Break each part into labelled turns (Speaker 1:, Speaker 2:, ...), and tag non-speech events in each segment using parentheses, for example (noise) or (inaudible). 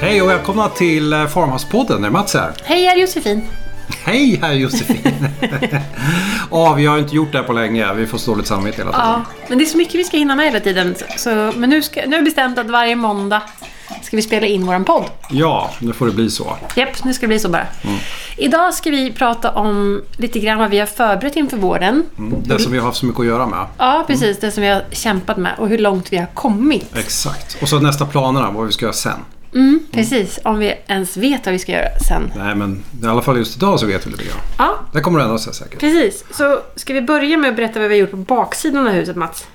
Speaker 1: Hej och välkomna till eh, Farmhouse-podden. Det är Mats här.
Speaker 2: Hej, jag är Josefin.
Speaker 1: Hej här (laughs) Josefin! Ja, vi har inte gjort det här på länge. Vi får så dåligt samvete hela tiden.
Speaker 2: Ja, men det är så mycket vi ska hinna med hela tiden. Så, men nu, ska, nu är bestämt att varje måndag ska vi spela in våran podd.
Speaker 1: Ja, nu får det bli så.
Speaker 2: Japp, nu ska det bli så bara.
Speaker 1: Mm.
Speaker 2: Idag ska vi prata om lite grann vad vi har förberett inför vården.
Speaker 1: Mm, Det som vi har haft så mycket att göra med.
Speaker 2: Ja, precis. Det som vi har kämpat med och hur långt vi har kommit.
Speaker 1: Mm. Exakt. Och så nästa planerna, vad vi ska göra sen.
Speaker 2: Mm, precis, om vi ens vet vad vi ska göra sen.
Speaker 1: Nej, men i alla fall just idag så vet vi lite grann.
Speaker 2: Ja,
Speaker 1: Det kommer att ändra sig säkert.
Speaker 2: precis. Så ska vi börja med att berätta vad vi har gjort på baksidan av huset, Mats?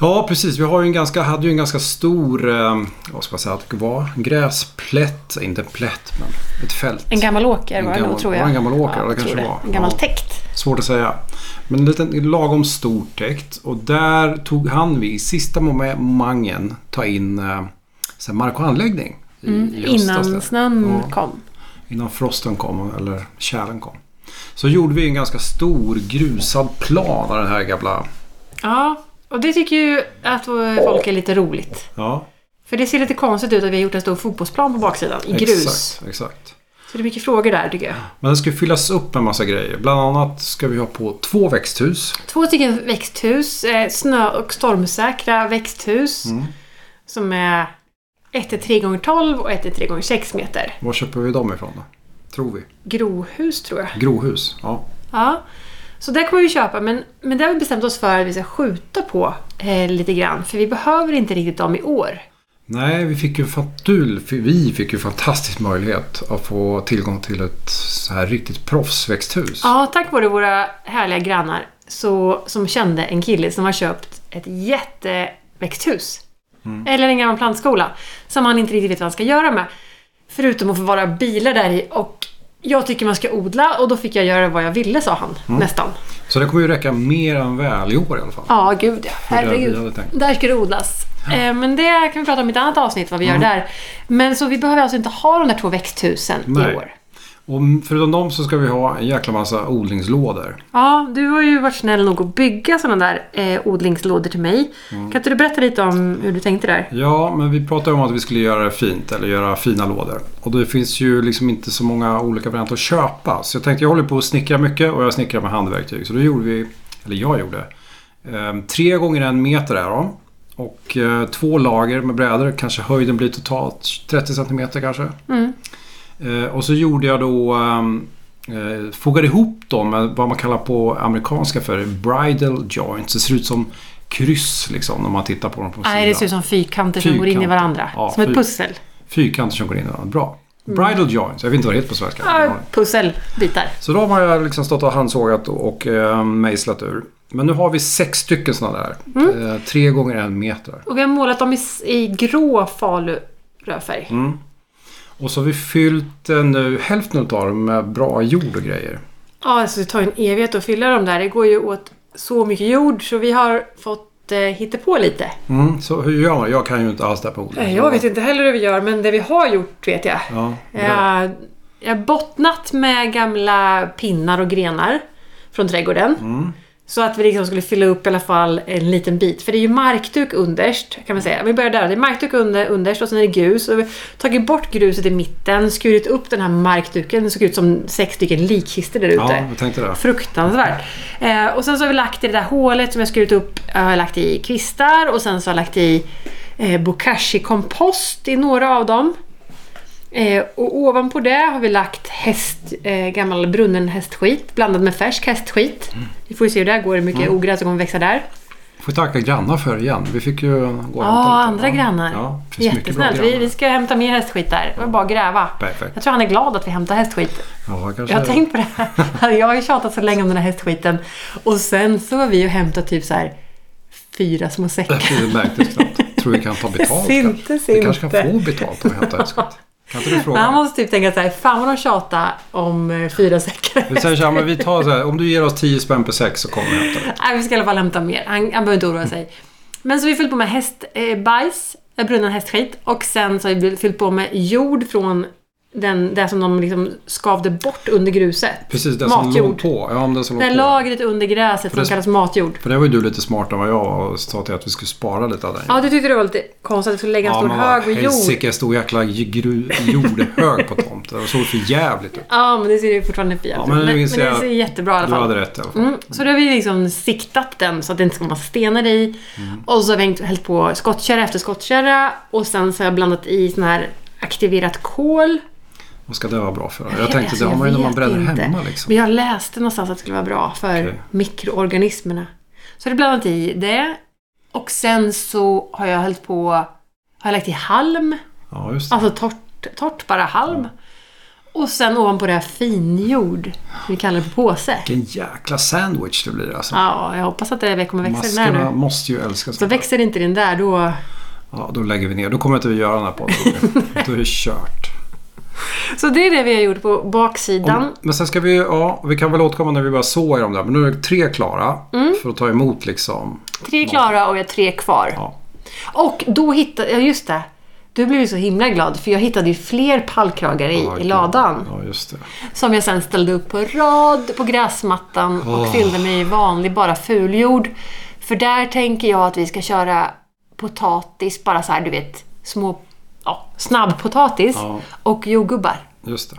Speaker 1: Ja, precis. Vi har ju en ganska, hade ju en ganska stor, eh, vad ska man säga att det var? En gräsplätt. Inte en plätt, men ett fält.
Speaker 2: En gammal åker
Speaker 1: En
Speaker 2: var det
Speaker 1: gammal-
Speaker 2: nog, tror jag.
Speaker 1: var det en gammal åker?
Speaker 2: jag
Speaker 1: Det kanske
Speaker 2: tror
Speaker 1: var.
Speaker 2: En gammal
Speaker 1: Ja.
Speaker 2: täkt.
Speaker 1: Svårt att säga. Men en liten lagom stor täkt. Och där tog han vi i sista momangen ta in eh, så här mark och anläggning. i- i höstas där.
Speaker 2: Mm, Innan snön
Speaker 1: Ja,
Speaker 2: kom.
Speaker 1: innan frosten kom, eller tjälen kom. Så gjorde vi en ganska stor grusad plan av den här gamla...
Speaker 2: Ja, och det tycker ju att folk är lite roligt.
Speaker 1: Ja,
Speaker 2: För det ser lite konstigt ut att vi har gjort en stor fotbollsplan på baksidan i grus.
Speaker 1: exakt. exakt.
Speaker 2: Så det är mycket frågor där tycker jag.
Speaker 1: Men den ska ju fyllas upp med massa grejer. Bland annat ska vi ha på två växthus.
Speaker 2: Två stycken växthus, eh, snö och stormsäkra växthus. Som är ett är 3 gånger 12 och ett är 3 gånger 6 meter.
Speaker 1: Var köper vi dem ifrån då? Tror vi.
Speaker 2: Grohus tror jag.
Speaker 1: Grohus. Ja.
Speaker 2: Ja. Så där kommer vi köpa, men, men det har vi bestämt oss för att vi ska skjuta på eh, lite grann. För vi behöver inte riktigt dem i år.
Speaker 1: Nej, vi fick ju en fantul, vi fick ju en fantastisk möjlighet att få tillgång till ett så här riktigt proffsväxthus.
Speaker 2: Ja, tack vare våra härliga grannar så, som kände en kille som har köpt ett jätteväxthus.
Speaker 1: Mm.
Speaker 2: Eller en gammal plantskola. Som han inte riktigt vet vad han ska göra med. Förutom att förvara bilar där i och jag tycker man ska odla och då fick jag göra vad jag ville sa han.
Speaker 1: Mm.
Speaker 2: Nästan.
Speaker 1: Så det kommer ju räcka mer än väl i år i alla fall.
Speaker 2: Ja, gud ja.
Speaker 1: det vi
Speaker 2: Herregud.
Speaker 1: hade tänkt.
Speaker 2: Där ska det odlas. Eh, Men det kan vi prata om i ett annat avsnitt vad vi
Speaker 1: Mm.
Speaker 2: gör där. Men så vi behöver alltså inte ha de där två växthusen
Speaker 1: Nej.
Speaker 2: i år.
Speaker 1: Och förutom dem så ska vi ha en jäkla massa odlingslådor.
Speaker 2: Ja, du har ju varit snäll nog att bygga sådana där eh, odlingslådor till mig.
Speaker 1: Mm.
Speaker 2: Kan inte du berätta lite om hur du tänkte där?
Speaker 1: Ja, men vi pratade om att vi skulle göra det fint eller göra fina lådor. Och det finns ju liksom inte så många olika varianter att köpa. Så jag tänkte, jag håller på att snickra mycket och jag snickrar med handverktyg. Så då gjorde vi, eller jag gjorde, eh, tre gånger en meter är de. Och eh, två lager med brädor. Kanske höjden blir totalt 30 centimeter kanske.
Speaker 2: Mm.
Speaker 1: Eh, och så gjorde jag då, ehm, eh, fogade ihop dem med vad man kallar på amerikanska för bridal joints. Det ser ut som kryss liksom när man tittar på dem på
Speaker 2: Nej, det ser ut som fyrkanter som går in i
Speaker 1: Fyrkanter.
Speaker 2: varandra.
Speaker 1: Ja,
Speaker 2: som ett
Speaker 1: fyr-
Speaker 2: pussel.
Speaker 1: Fyrkanter som går in i varandra. Bra. Bridal joints. Jag vet inte vad det heter på svenska.
Speaker 2: Mm. Ja, pusselbitar.
Speaker 1: Så de har jag liksom stått och handsågat och, och eh, mejslat ur. Men nu har vi sex stycken sådana där.
Speaker 2: Mm.
Speaker 1: Eh, tre gånger en meter.
Speaker 2: Och vi har målat dem i, s- i grå falurödfärg.
Speaker 1: Mm. Och så har vi fyllt eh, nu hälften av dem med bra jord och grejer.
Speaker 2: Ja, alltså det tar ju en evighet att fylla dem där. Det går ju åt så mycket jord så vi har fått eh, hitta på lite.
Speaker 1: Mm, så hur gör man? Jag kan ju inte alls det här på odling.
Speaker 2: Eh, Jag vet inte heller hur vi gör, men det vi har gjort vet jag.
Speaker 1: Ja, bra.
Speaker 2: Jag, Eh, jag har bottnat med gamla pinnar och grenar från trädgården.
Speaker 1: Mm.
Speaker 2: Så att vi liksom skulle fylla upp i alla fall en liten bit. För det är ju markduk underst kan man säga. Vi börjar där. Det är markduk under, underst och sen är det grus. Och vi har tagit bort gruset i mitten, skurit upp den här markduken. Det såg ut som sex stycken likkistor där ute.
Speaker 1: ja, jag tänkte det.
Speaker 2: Fruktansvärt. Eh, och sen så har vi lagt i det där hålet som jag skurit upp, jag har lagt i kvistar och sen så har jag lagt i eh, bokashi-kompost i några av dem. Eh, och ovanpå det har vi lagt häst, eh, gammal brunnen hästskit blandad med färsk hästskit.
Speaker 1: Mm.
Speaker 2: Vi får ju se hur det här går, hur mycket ogräs som kommer växa där.
Speaker 1: Får tacka grannar för det igen. Vi fick ju gå och hämta lite.
Speaker 2: Ja, Ah, andra grannar.
Speaker 1: Ja, det finns mycket bra
Speaker 2: Jättesnällt. Vi,
Speaker 1: grannar.
Speaker 2: vi ska hämta mer hästskit där. Det var bara att gräva.
Speaker 1: Perfekt.
Speaker 2: Jag tror han är glad att vi hämtar hästskit.
Speaker 1: Ja, kanske
Speaker 2: Jag har
Speaker 1: det.
Speaker 2: tänkt på det här. (laughs) Jag har ju tjatat så länge om den här hästskiten. Och sen så var vi ju hämtat typ så här fyra små säckar.
Speaker 1: Det märktes knappt. Tror vi kan ta betalt.
Speaker 2: Det
Speaker 1: kanske.
Speaker 2: syntes
Speaker 1: Vi kanske kan få
Speaker 2: inte.
Speaker 1: betalt om vi hämtar hästskit. Kan
Speaker 2: (laughs)
Speaker 1: inte du
Speaker 2: Men (laughs) han
Speaker 1: fråga?
Speaker 2: måste typ tänka så här, fan vad de tjatar om eh, fyra säckar.
Speaker 1: Vi säger så här, men vi tar så här, om du ger oss 10 spänn per sex så kommer vi hämta det.
Speaker 2: (laughs) Nej, vi ska i alla fall hämta mer. Han, han behöver inte oroa sig. Men så har vi fyllt på med eh, hästbajs, eh, brunnen hästskit. Och sen så har vi fyllt på med jord från den, det som de liksom skavde bort under gruset.
Speaker 1: Precis, den som
Speaker 2: matjord.
Speaker 1: låg på. Ja, men den som
Speaker 2: Det
Speaker 1: låg
Speaker 2: här
Speaker 1: på.
Speaker 2: lagret under gräset som
Speaker 1: det-
Speaker 2: kallas matjord.
Speaker 1: För det var ju du lite smartare än vad jag var och sa till att vi skulle spara lite av den.
Speaker 2: Ja, du tyckte det var lite konstigt att du skulle lägga en stor
Speaker 1: men
Speaker 2: hög med jord.
Speaker 1: helsike, stor jäkla j- gru- jordhög på tomten. Det såg för jävligt ut.
Speaker 2: Ja, men det ser ju fortfarande fint ut.
Speaker 1: Ja, men
Speaker 2: men,
Speaker 1: nu
Speaker 2: men det
Speaker 1: inser jag-
Speaker 2: ser jättebra i alla
Speaker 1: Du
Speaker 2: fall.
Speaker 1: hade rätt i alla fall.
Speaker 2: Mm, så då har vi liksom siktat den så att det inte ska vara stenar i.
Speaker 1: Mm.
Speaker 2: Och så har vi hängt- hällt på skottkärra efter skottkärra. Och sen så har jag blandat i sån här aktiverat kol.
Speaker 1: Vad ska det vara bra för?
Speaker 2: Jag-
Speaker 1: Jag tänkte,
Speaker 2: alltså,
Speaker 1: det har
Speaker 2: jag
Speaker 1: man ju när man
Speaker 2: vet
Speaker 1: bränner
Speaker 2: inte.
Speaker 1: hemma liksom.
Speaker 2: Men jag läste någonstans att det skulle vara bra för
Speaker 1: Okej.
Speaker 2: mikroorganismerna. Så har jag blandat i det. Och sen så har jag hällt på, har jag lagt i halm.
Speaker 1: Ja, just det.
Speaker 2: Alltså torrt, torrt bara halm. Och sen ovanpå det här finjord. Vi kallar det på påse.
Speaker 1: Vilken jäkla sandwich det blir alltså.
Speaker 2: Ja, jag hoppas att det kommer växa den här
Speaker 1: Maskerna
Speaker 2: nu.
Speaker 1: måste ju älska
Speaker 2: Så
Speaker 1: sånt.
Speaker 2: växer inte den där då...
Speaker 1: Ja, då lägger vi ner. Då kommer inte vi göra den här
Speaker 2: (laughs)
Speaker 1: podden. då är det kört.
Speaker 2: Så det är det vi har gjort på baksidan.
Speaker 1: Om, men sen ska vi, ja, vi kan väl återkomma när vi bara så i dem där. Men nu är det tre klara
Speaker 2: Mm.
Speaker 1: för att ta emot liksom.
Speaker 2: Tre är klara och jag har tre kvar.
Speaker 1: Ja.
Speaker 2: Och då hittade... Ja, just det. Du blev ju så himla glad för jag hittade ju fler pallkragar i, i ladan.
Speaker 1: Ja, just det.
Speaker 2: Som jag sen ställde upp på rad på gräsmattan och
Speaker 1: Åh.
Speaker 2: fyllde med i vanlig bara fuljord. För där tänker jag att vi ska köra potatis, bara så här du vet, små... Ja, snabbpotatis
Speaker 1: Ja.
Speaker 2: och jordgubbar.
Speaker 1: Just det.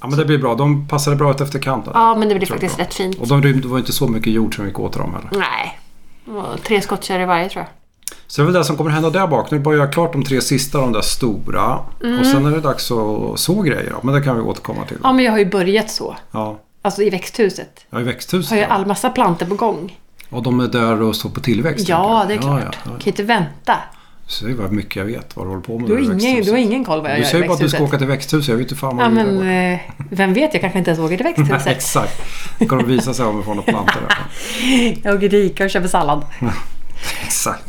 Speaker 1: Ja, men det blir bra. De passade bra ut efter kanten.
Speaker 2: Ja, men det blir
Speaker 1: tror jag
Speaker 2: faktiskt
Speaker 1: bra.
Speaker 2: rätt fint.
Speaker 1: Och de rymde, det var inte så mycket jord som gick åt till dem heller.
Speaker 2: Nej. Det var Tre skottkärror i varje tror jag.
Speaker 1: Så det är väl det som kommer hända där bak. Nu är det bara att göra klart de tre sista, de där stora. Och sen är det dags att så grejer. då. Men det kan vi återkomma till.
Speaker 2: Mm. Ja, men jag har ju börjat så.
Speaker 1: Ja,
Speaker 2: Alltså i växthuset.
Speaker 1: ja i
Speaker 2: Har
Speaker 1: växthuset.
Speaker 2: jag
Speaker 1: ja.
Speaker 2: all massa planter på gång.
Speaker 1: Och de är där och står på tillväxt.
Speaker 2: Ja, det
Speaker 1: tänker
Speaker 2: är
Speaker 1: jag.
Speaker 2: klart.
Speaker 1: Ja, ja,
Speaker 2: Kan
Speaker 1: ja.
Speaker 2: ju inte vänta.
Speaker 1: Så det är vad mycket jag vet vad du håller på med.
Speaker 2: Du
Speaker 1: när
Speaker 2: har,
Speaker 1: är i
Speaker 2: ingen, du
Speaker 1: växthuset.
Speaker 2: har ingen koll vad jag
Speaker 1: Du
Speaker 2: gör i
Speaker 1: säger bara att du ska
Speaker 2: växthuset.
Speaker 1: åka till växthuset. Jag vet inte fan vad
Speaker 2: Ja,
Speaker 1: du gör där
Speaker 2: men
Speaker 1: borta.
Speaker 2: eh, vem vet, jag kanske inte ens åker
Speaker 1: (laughs)
Speaker 2: till
Speaker 1: Nej,
Speaker 2: växthuset.
Speaker 1: Exakt. Det kommer de visa sig om vi får några plantor där.
Speaker 2: (laughs) jag åker till Ica och köper sallad.
Speaker 1: Exakt.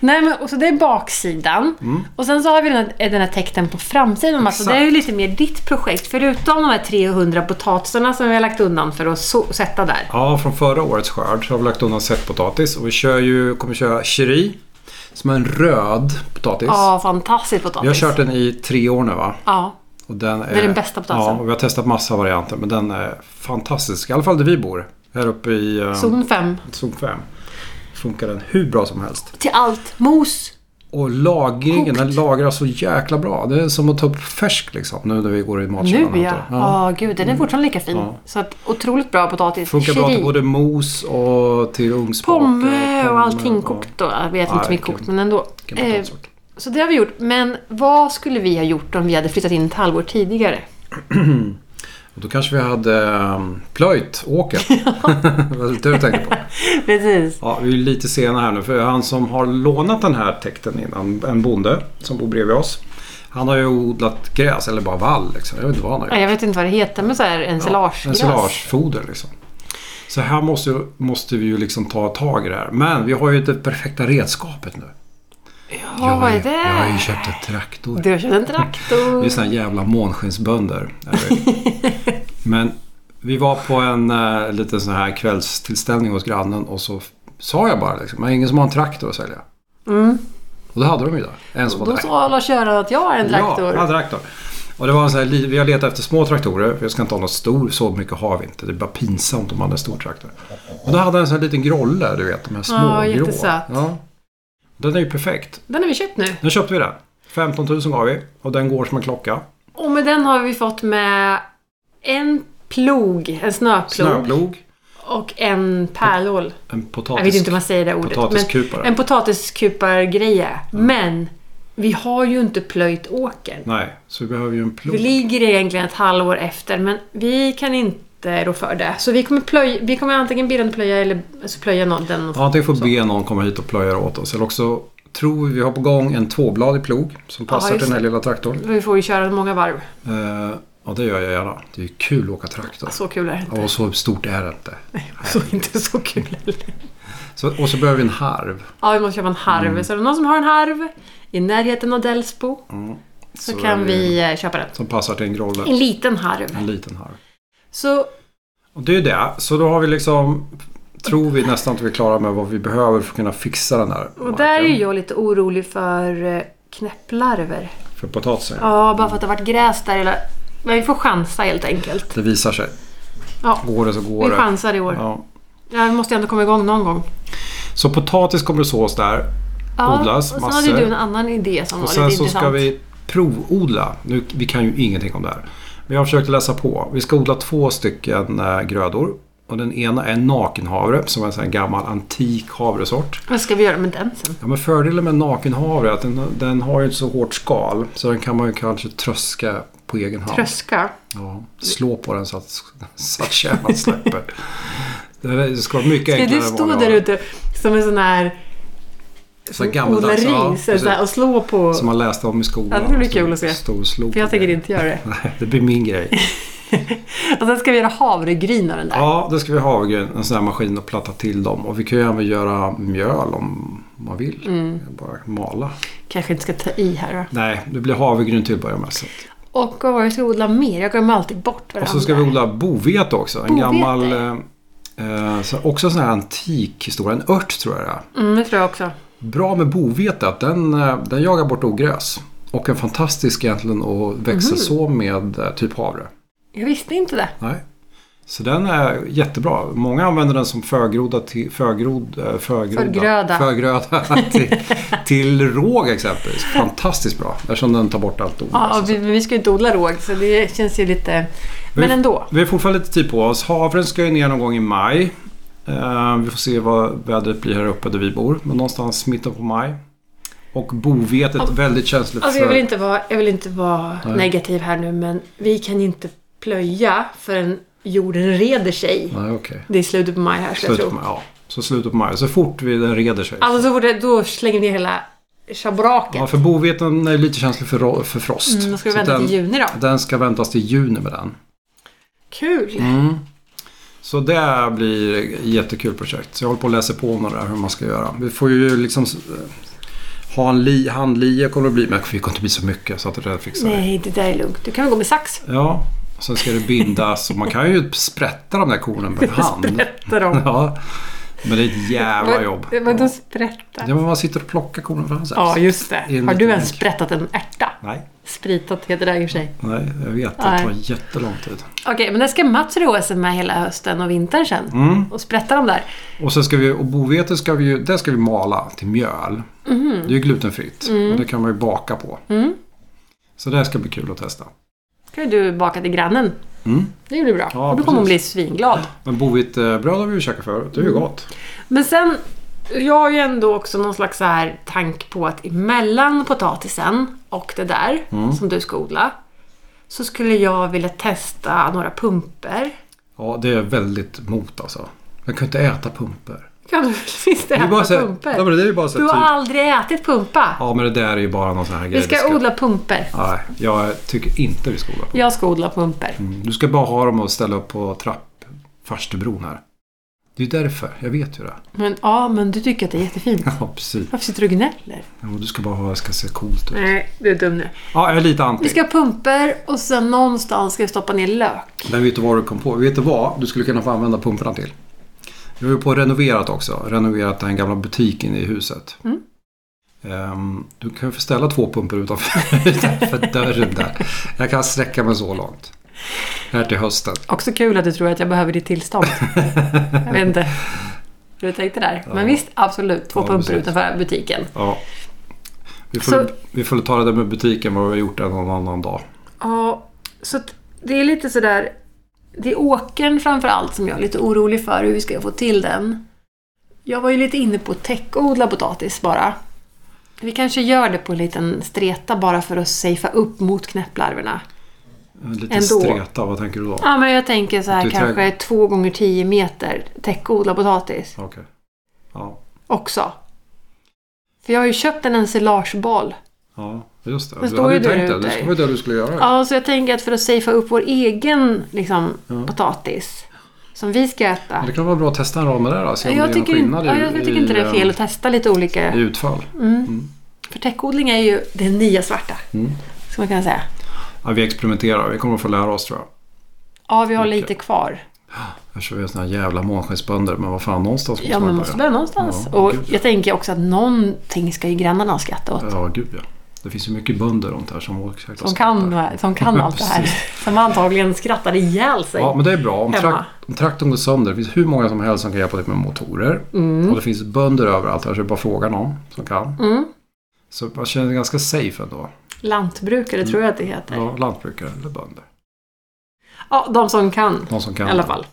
Speaker 2: Nej, men, och så det är baksidan.
Speaker 1: Mm.
Speaker 2: Och sen så har vi den här, eh, den här täckten på framsidan. Mats. Och det är ju lite mer ditt projekt. Förutom de här 300 potatisarna som vi har lagt undan för att så, sätta där.
Speaker 1: Ja, från förra årets skörd så har vi lagt undan sättpotatis. Och vi kör ju, kommer köra cheri. Som är en röd potatis.
Speaker 2: Ja, fantastisk
Speaker 1: Vi har
Speaker 2: potatis.
Speaker 1: kört den i tre år nu va?
Speaker 2: Ja.
Speaker 1: Och den är,
Speaker 2: är den bästa potatisen.
Speaker 1: Ja, och vi har testat massa varianter men den är fantastisk. I alla fall där vi bor. Här uppe i eh,
Speaker 2: Zon 5.
Speaker 1: zon 5. Funkar den hur bra som helst.
Speaker 2: Till allt. Mos.
Speaker 1: Och lagringen, den lagrar så jäkla bra. Det är som att ta upp färsk liksom nu när vi går i matkylan.
Speaker 2: Nu ja.
Speaker 1: antar jag.
Speaker 2: Ja, gud. Den är fortfarande lika fin. Så att, otroligt bra potatis.
Speaker 1: Mm. Funkar bra till
Speaker 2: Chili,
Speaker 1: både mos och till ugnsbak.
Speaker 2: Pomme och
Speaker 1: Pomme,
Speaker 2: allting
Speaker 1: ja.
Speaker 2: kokt. Då. Jag vet
Speaker 1: Nej,
Speaker 2: inte så mycket
Speaker 1: vilken-
Speaker 2: kokt, men ändå.
Speaker 1: vilken
Speaker 2: Eh,
Speaker 1: potatisort.
Speaker 2: så det har vi gjort. Men vad skulle vi ha gjort om vi hade flyttat in ett halvår tidigare?
Speaker 1: Och då kanske vi hade eh, plöjt åkern.
Speaker 2: (laughs)
Speaker 1: (laughs) det var lite det jag tänkte på.
Speaker 2: Precis.
Speaker 1: Ja, vi är lite sena här nu för han som har lånat den här täkten innan, en bonde som bor bredvid oss. Han har ju odlat gräs eller bara vall liksom. Jag vet inte vad han har gjort.
Speaker 2: Jag vet inte vad det heter, men så här ensilagegrass.
Speaker 1: Ensilagefoder liksom. Så här måste, ju- måste vi ju liksom ta tag i det här. Men vi har ju det perfekta redskapet nu. jag,
Speaker 2: Ja,
Speaker 1: har
Speaker 2: vad
Speaker 1: ju,
Speaker 2: är
Speaker 1: jag har ju
Speaker 2: det?
Speaker 1: köpt en traktor.
Speaker 2: Du har köpt en traktor.
Speaker 1: Vi är såna här jävla månskensbönder. är vi.
Speaker 2: (laughs)
Speaker 1: Men vi var på en eh, liten sån här kvällstillställning hos grannen och så f- sa jag bara liksom, "Men ingen som har en traktor att sälja. Och det hade de ju där. En som var
Speaker 2: Mm. Då sa Lars-Göran att jag har en traktor.
Speaker 1: Ja, alltså- en traktor. Och det var en sån här, li- vi har letat efter små traktorer, för jag ska inte ha någon stor, så mycket har vi inte. Det är bara pinsamt om man har en stor traktor. Och då hade han en sån här liten grolle, du vet, de här små
Speaker 2: Ja,
Speaker 1: grå.
Speaker 2: jättesöt.
Speaker 1: Ja. Den är ju perfekt.
Speaker 2: Den har vi köpt nu.
Speaker 1: Nu köpte vi den. 15 000 gav vi och den går som en klocka.
Speaker 2: Och med den har vi fått med en plog, en snöplog,
Speaker 1: Snöplog.
Speaker 2: och en pärlål.
Speaker 1: En
Speaker 2: Jag
Speaker 1: potatis...
Speaker 2: vet inte om man säger det ordet.
Speaker 1: potatiskupare.
Speaker 2: Men en potatiskupargreja. Men vi har ju inte plöjt åkern.
Speaker 1: Nej, så vi behöver ju en plog.
Speaker 2: Vi ligger egentligen ett halvår efter, men vi kan inte rå för det. Så vi kommer, plöj, vi kommer antingen be den plöja eller alltså plöja någon, den.
Speaker 1: Ja, Antingen får be någon komma hit och plöja åt oss. Eller också tror vi vi har på gång en tvåbladig plog som passar
Speaker 2: just
Speaker 1: till den här
Speaker 2: det.
Speaker 1: lilla traktorn.
Speaker 2: Vi får ju köra många varv.
Speaker 1: Eh, ja, det gör jag gärna. Det är ju kul att åka traktor.
Speaker 2: Så kul är det inte.
Speaker 1: Och så stort är det inte.
Speaker 2: Så inte så kul
Speaker 1: Mm.
Speaker 2: heller.
Speaker 1: Så, och så behöver vi en harv.
Speaker 2: Ja, vi måste köpa en harv.
Speaker 1: Mm.
Speaker 2: Så är det någon som har en harv i närheten av Delsbo så,
Speaker 1: Så är
Speaker 2: kan
Speaker 1: det- Mm.
Speaker 2: vi eh, köpa den.
Speaker 1: Som passar till en grolle.
Speaker 2: En liten harv.
Speaker 1: En liten harv.
Speaker 2: Så
Speaker 1: Och det är ju det. Så då har vi liksom... Tror vi nästan att vi är klara med vad vi behöver för att kunna fixa den här
Speaker 2: Och
Speaker 1: marken.
Speaker 2: där är ju jag lite orolig för eh, knäpplarver.
Speaker 1: för potatisen.
Speaker 2: Ja, bara för att det har varit gräs där hela... Men vi får chansa helt enkelt.
Speaker 1: Det visar sig.
Speaker 2: Ja,
Speaker 1: Går det så går
Speaker 2: vi
Speaker 1: det.
Speaker 2: chansar i år. Ja.
Speaker 1: Ja.
Speaker 2: vi måste ändå komma igång någon gång.
Speaker 1: Så potatis kommer att sås där.
Speaker 2: Ja,
Speaker 1: Odlas
Speaker 2: och sen
Speaker 1: massor.
Speaker 2: hade ju du en annan idé som
Speaker 1: Och
Speaker 2: var
Speaker 1: sen
Speaker 2: lite
Speaker 1: så
Speaker 2: intressant.
Speaker 1: ska vi provodla. Nu, vi kan ju ingenting om det här. Men jag har försökt läsa på. Vi ska odla två stycken eh, grödor. Och den ena är nakenhavre som är en sån här gammal antik havresort.
Speaker 2: Vad ska vi göra med den sen?
Speaker 1: Ja, men fördelen med nakenhavre är att den, den har ju ett så hårt skal så den kan man ju kanske tröska på egen hand.
Speaker 2: Tröska?
Speaker 1: Ja, slå på den så att, så att kärnan släpper. Det här- det ska vara mycket
Speaker 2: Ska
Speaker 1: enklare
Speaker 2: du
Speaker 1: än
Speaker 2: stå
Speaker 1: vanliga
Speaker 2: där
Speaker 1: havre.
Speaker 2: ute som en sån här...
Speaker 1: Så här
Speaker 2: Odla
Speaker 1: gammaldags, ja,
Speaker 2: ris eller så här,
Speaker 1: precis.
Speaker 2: och slå på...
Speaker 1: Som man läste om i skolan.
Speaker 2: Ja, det ska bli
Speaker 1: Och så
Speaker 2: kul att se.
Speaker 1: Stå och slå
Speaker 2: För jag tänker inte göra det.
Speaker 1: (laughs) Nej, det blir min
Speaker 2: (laughs)
Speaker 1: grej.
Speaker 2: Och sen ska vi göra havregryn av den där.
Speaker 1: Ja, det ska vi ha en sån här maskin och platta till dem. Och vi kan ju även göra mjöl om man vill.
Speaker 2: Mm.
Speaker 1: Bara mala.
Speaker 2: Kanske inte ska ta i här då.
Speaker 1: Nej, det blir havregryn till att börja med. Så. att-
Speaker 2: Och vad var det jag ska odla mer? Jag glömmer alltid bort
Speaker 1: Och
Speaker 2: varandra.
Speaker 1: så ska vi odla bovete också. En
Speaker 2: Bovete?
Speaker 1: gammal, eh, eh, så- också en sån här antik historia. En ört tror jag det är.
Speaker 2: Mm, det tror jag också.
Speaker 1: Bra med bovete att den, eh, den jagar bort ogräs. Och en fantastisk egentligen att växa
Speaker 2: Mhm.
Speaker 1: så med eh, typ havre.
Speaker 2: Jag visste inte det.
Speaker 1: Nej. Så den är jättebra. Många använder den som förgroda till, förgrod, eh, förgroda,
Speaker 2: Förgröda.
Speaker 1: förgröda (laughs) till, till råg exempelvis. Fantastiskt bra eftersom den tar bort allt ogräs.
Speaker 2: Ja, och vi, men vi ska ju inte odla råg så det känns ju lite... Men
Speaker 1: Alltså, Vi-
Speaker 2: ändå.
Speaker 1: Vi har fortfarande lite tid på oss. Havren ska ju ner någon gång i maj. Eh, vi får se vad vädret blir här uppe där vi bor. Men någonstans mitten på maj. Och bovetet, väldigt känsligt
Speaker 2: Alltså jag
Speaker 1: för...
Speaker 2: vill inte vara, jag vill inte vara negativ här nu men vi kan inte plöja förrän jorden reder sig.
Speaker 1: Nej, okej.
Speaker 2: Det är slutet på maj här skulle jag
Speaker 1: Slutet på
Speaker 2: tro.
Speaker 1: maj. Ja. Så slutet på maj. Så fort vi, den reder sig.
Speaker 2: Alltså så fort det, då slänger vi ner hela schabraket.
Speaker 1: Ja, för boveten är lite känslig för, ro- för frost.
Speaker 2: Mm, då ska vi
Speaker 1: Så
Speaker 2: vänta
Speaker 1: den,
Speaker 2: till juni då.
Speaker 1: Den ska väntas till juni med den. Mm.
Speaker 2: Kul!
Speaker 1: Så det blir ett jättekul projekt. Så jag håller på att läsa på om det där, hur man ska göra. Vi får ju liksom eh, ha en li, handlie kommer det bli. Men det kommer inte bli så mycket så att det där fixar vi.
Speaker 2: Nej, det där är lugnt. Du kan väl gå med sax?
Speaker 1: Ja, sen ska det bindas och man kan ju sprätta de där kornen
Speaker 2: (laughs)
Speaker 1: med hand.
Speaker 2: Sprätta dem.
Speaker 1: (laughs) Ja, men det är ett jävla jobb.
Speaker 2: Vad- Vadå sprätta?
Speaker 1: Ja, men man sitter och plockar kornen för hand.
Speaker 2: Ja, just det.
Speaker 1: En
Speaker 2: Har du
Speaker 1: liten
Speaker 2: ens
Speaker 1: bänk.
Speaker 2: sprättat en ärta?
Speaker 1: Nej,
Speaker 2: Spritat heter det i och för sig.
Speaker 1: nej, jag vet. Det
Speaker 2: Nej.
Speaker 1: tar jättelång tid.
Speaker 2: Okej, men det ska Mats roa sig med hela hösten och vintern sen.
Speaker 1: Mm.
Speaker 2: Och sprätta dem där.
Speaker 1: Och sen ska vi, och bovete ska vi ju, det ska vi mala till mjöl.
Speaker 2: Mhm.
Speaker 1: Det är ju glutenfritt
Speaker 2: Mm.
Speaker 1: och det kan man ju baka på. Så det här ska bli kul att testa.
Speaker 2: ska ju du baka till grannen. Det blir bra.
Speaker 1: Mm. Ja,
Speaker 2: och då kommer hon bli
Speaker 1: precis.
Speaker 2: svinglad.
Speaker 1: Men bovetebröd har vi ju käkat förut, det är ju
Speaker 2: Mm.
Speaker 1: gott.
Speaker 2: Men sen, jag har ju ändå också någon slags så här tank på att emellan potatisen och det där
Speaker 1: Mm.
Speaker 2: som du ska odla så skulle jag vilja testa några pumper.
Speaker 1: Ja, det är jag väldigt mot alltså. Jag kan inte äta pumper.
Speaker 2: Kan du (laughs) visst
Speaker 1: Det är
Speaker 2: äta
Speaker 1: ju bara så här-
Speaker 2: pumper?
Speaker 1: Ja, men det är ju bara så
Speaker 2: du
Speaker 1: här
Speaker 2: har
Speaker 1: typ-
Speaker 2: aldrig ätit pumpa.
Speaker 1: Ja, men det där är ju bara någon sån här grej.
Speaker 2: Vi ska, odla pumper.
Speaker 1: Nej, jag tycker inte vi ska odla pumper.
Speaker 2: Jag ska odla pumper.
Speaker 1: Du ska bara ha dem och ställa upp på trapp, farstubron här. Det är ju därför, jag vet ju det. (laughs)
Speaker 2: Men ja, men du tycker att det är jättefint.
Speaker 1: Ja, precis.
Speaker 2: Varför sitter du och gnäller?
Speaker 1: Ja, Du ska bara ha, det ska se coolt ut.
Speaker 2: Nej, du är dum nu.
Speaker 1: Ja, jag är lite anti.
Speaker 2: Vi ska ha pumper och sen någonstans ska vi stoppa ner lök.
Speaker 1: Men vet du vad du kom på? Vet du vad du skulle kunna få använda pumparna till? Vi har ju på och renoverat också. Renoverat den gamla butiken i huset.
Speaker 2: Mm.
Speaker 1: Ehm, du kan ju få ställa två pumpor utanför, (laughs) utanför dörren där. Jag kan sträcka mig så långt. Här till hösten.
Speaker 2: Också kul att du tror att jag behöver ditt tillstånd.
Speaker 1: (laughs)
Speaker 2: jag vet inte hur du tänkte där. Men visst, absolut. Två
Speaker 1: Ja,
Speaker 2: pumpor
Speaker 1: precis.
Speaker 2: utanför butiken.
Speaker 1: Ja. Vi får,
Speaker 2: Så-
Speaker 1: vi får ta det där med butiken vad vi har gjort en och annan dag.
Speaker 2: Ja, så att det är lite sådär... Det är åkern framför allt som jag är lite orolig för, hur vi ska få till den. Jag var ju lite inne på att täckodla potatis bara. Vi kanske gör det på en liten streta bara för att safea upp mot knäpplarverna.
Speaker 1: Lite
Speaker 2: Ändå.
Speaker 1: streta, vad tänker du då?
Speaker 2: Ja, men jag tänker så
Speaker 1: Du
Speaker 2: här
Speaker 1: tror-
Speaker 2: kanske två gånger 10 meter täckodla potatis
Speaker 1: Okej. Ja.
Speaker 2: också. För jag har ju köpt en ensilageboll.
Speaker 1: ja, just det.
Speaker 2: Men
Speaker 1: Du
Speaker 2: står
Speaker 1: hade ju
Speaker 2: ju du
Speaker 1: tänkt det.
Speaker 2: ute.
Speaker 1: Det skulle vara det du skulle göra.
Speaker 2: Ja, så jag tänker att för att safea upp vår egen liksom, potatis som vi ska äta.
Speaker 1: Det kan vara bra att testa en rad med det där. Se om det
Speaker 2: Jag
Speaker 1: är någon
Speaker 2: tycker, inte,
Speaker 1: skillnad
Speaker 2: ja,
Speaker 1: i-
Speaker 2: jag tycker inte det är
Speaker 1: i, eh,
Speaker 2: fel att testa lite
Speaker 1: i
Speaker 2: olika.
Speaker 1: utfall.
Speaker 2: För täckodling är ju det nya svarta.
Speaker 1: Mm.
Speaker 2: Ska man kunna säga.
Speaker 1: Ja, vi experimenterar. Vi kommer att få lära oss tror jag.
Speaker 2: Ja, vi har lite kvar.
Speaker 1: Eftersom vi är såna här jävla månskensbönder. Men vad fan, någonstans måste
Speaker 2: Ja,
Speaker 1: man
Speaker 2: men
Speaker 1: börja.
Speaker 2: måste börja någonstans.
Speaker 1: Ja,
Speaker 2: och
Speaker 1: gud, ja.
Speaker 2: jag tänker också att någonting ska ju grannarna skratta åt.
Speaker 1: Ja, gud ja. Det finns ju mycket bönder runt här som åker säkert och
Speaker 2: Som kan,
Speaker 1: skrattar.
Speaker 2: som kan allt
Speaker 1: (laughs)
Speaker 2: det här. Som antagligen skrattade ihjäl sig.
Speaker 1: Ja, men det är bra. Om,
Speaker 2: hemma.
Speaker 1: trak- om traktorn går sönder, det finns hur många som helst som kan hjälpa dig med motorer. Och det finns bönder överallt här, så det är bara att fråga någon som kan.
Speaker 2: Mm.
Speaker 1: Så man känner sig ganska safe ändå.
Speaker 2: Lantbrukare tror jag att det heter. Ja,
Speaker 1: Ja, lantbrukare eller bönder.
Speaker 2: de som kan
Speaker 1: Någon som kan.
Speaker 2: i alla fall.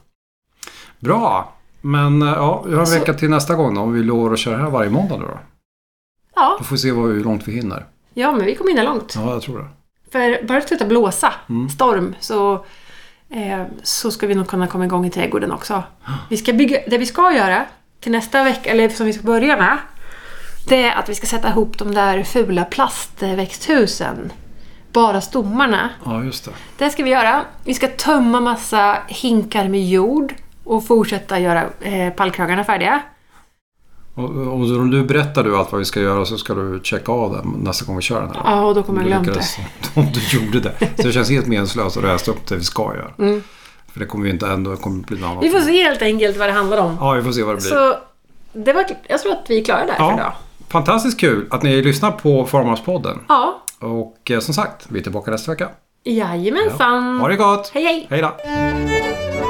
Speaker 1: Bra! Men eh, ja, vi har en
Speaker 2: Så-
Speaker 1: vecka till nästa gång då, om vi lovar att köra här varje måndag nu då.
Speaker 2: Ja,
Speaker 1: Då får vi se vad, hur långt vi hinner.
Speaker 2: ja men vi kom in långt.
Speaker 1: Ja, jag tror det.
Speaker 2: För bara det slutar blåsa,
Speaker 1: Mm.
Speaker 2: storm, så, eh, så ska vi nog kunna komma igång i trädgården också. Vi ska bygga, det vi ska göra till nästa vecka, eller som vi ska börja med, det är att vi ska sätta ihop de där fula plastväxthusen. Bara stommarna.
Speaker 1: Ja, just det.
Speaker 2: Det ska vi göra. Vi ska tömma massa hinkar med jord och fortsätta göra eh, pallkragarna färdiga.
Speaker 1: Och, och så om du berättar du allt vad vi ska göra så ska du checka av den nästa gång vi kör den här.
Speaker 2: Ja, och då kommer
Speaker 1: Om
Speaker 2: jag
Speaker 1: du
Speaker 2: glömt det.
Speaker 1: lyckades- (laughs) Om du gjorde det. Så det känns helt meningslöst att läsa upp det vi ska göra. För det kommer ju inte ändå, det kommer bli något annat.
Speaker 2: Mm. Vi får se helt enkelt vad det handlar om.
Speaker 1: Ja, vi får se vad det blir.
Speaker 2: Så det var, jag tror att vi är klara där för idag.
Speaker 1: ja. Fantastiskt kul att ni lyssnar på Farmarspodden.
Speaker 2: Ja,
Speaker 1: Och eh, som sagt, vi är tillbaka nästa vecka.
Speaker 2: jajamensan.
Speaker 1: Ha det gott!
Speaker 2: Hej hej!
Speaker 1: Hej då!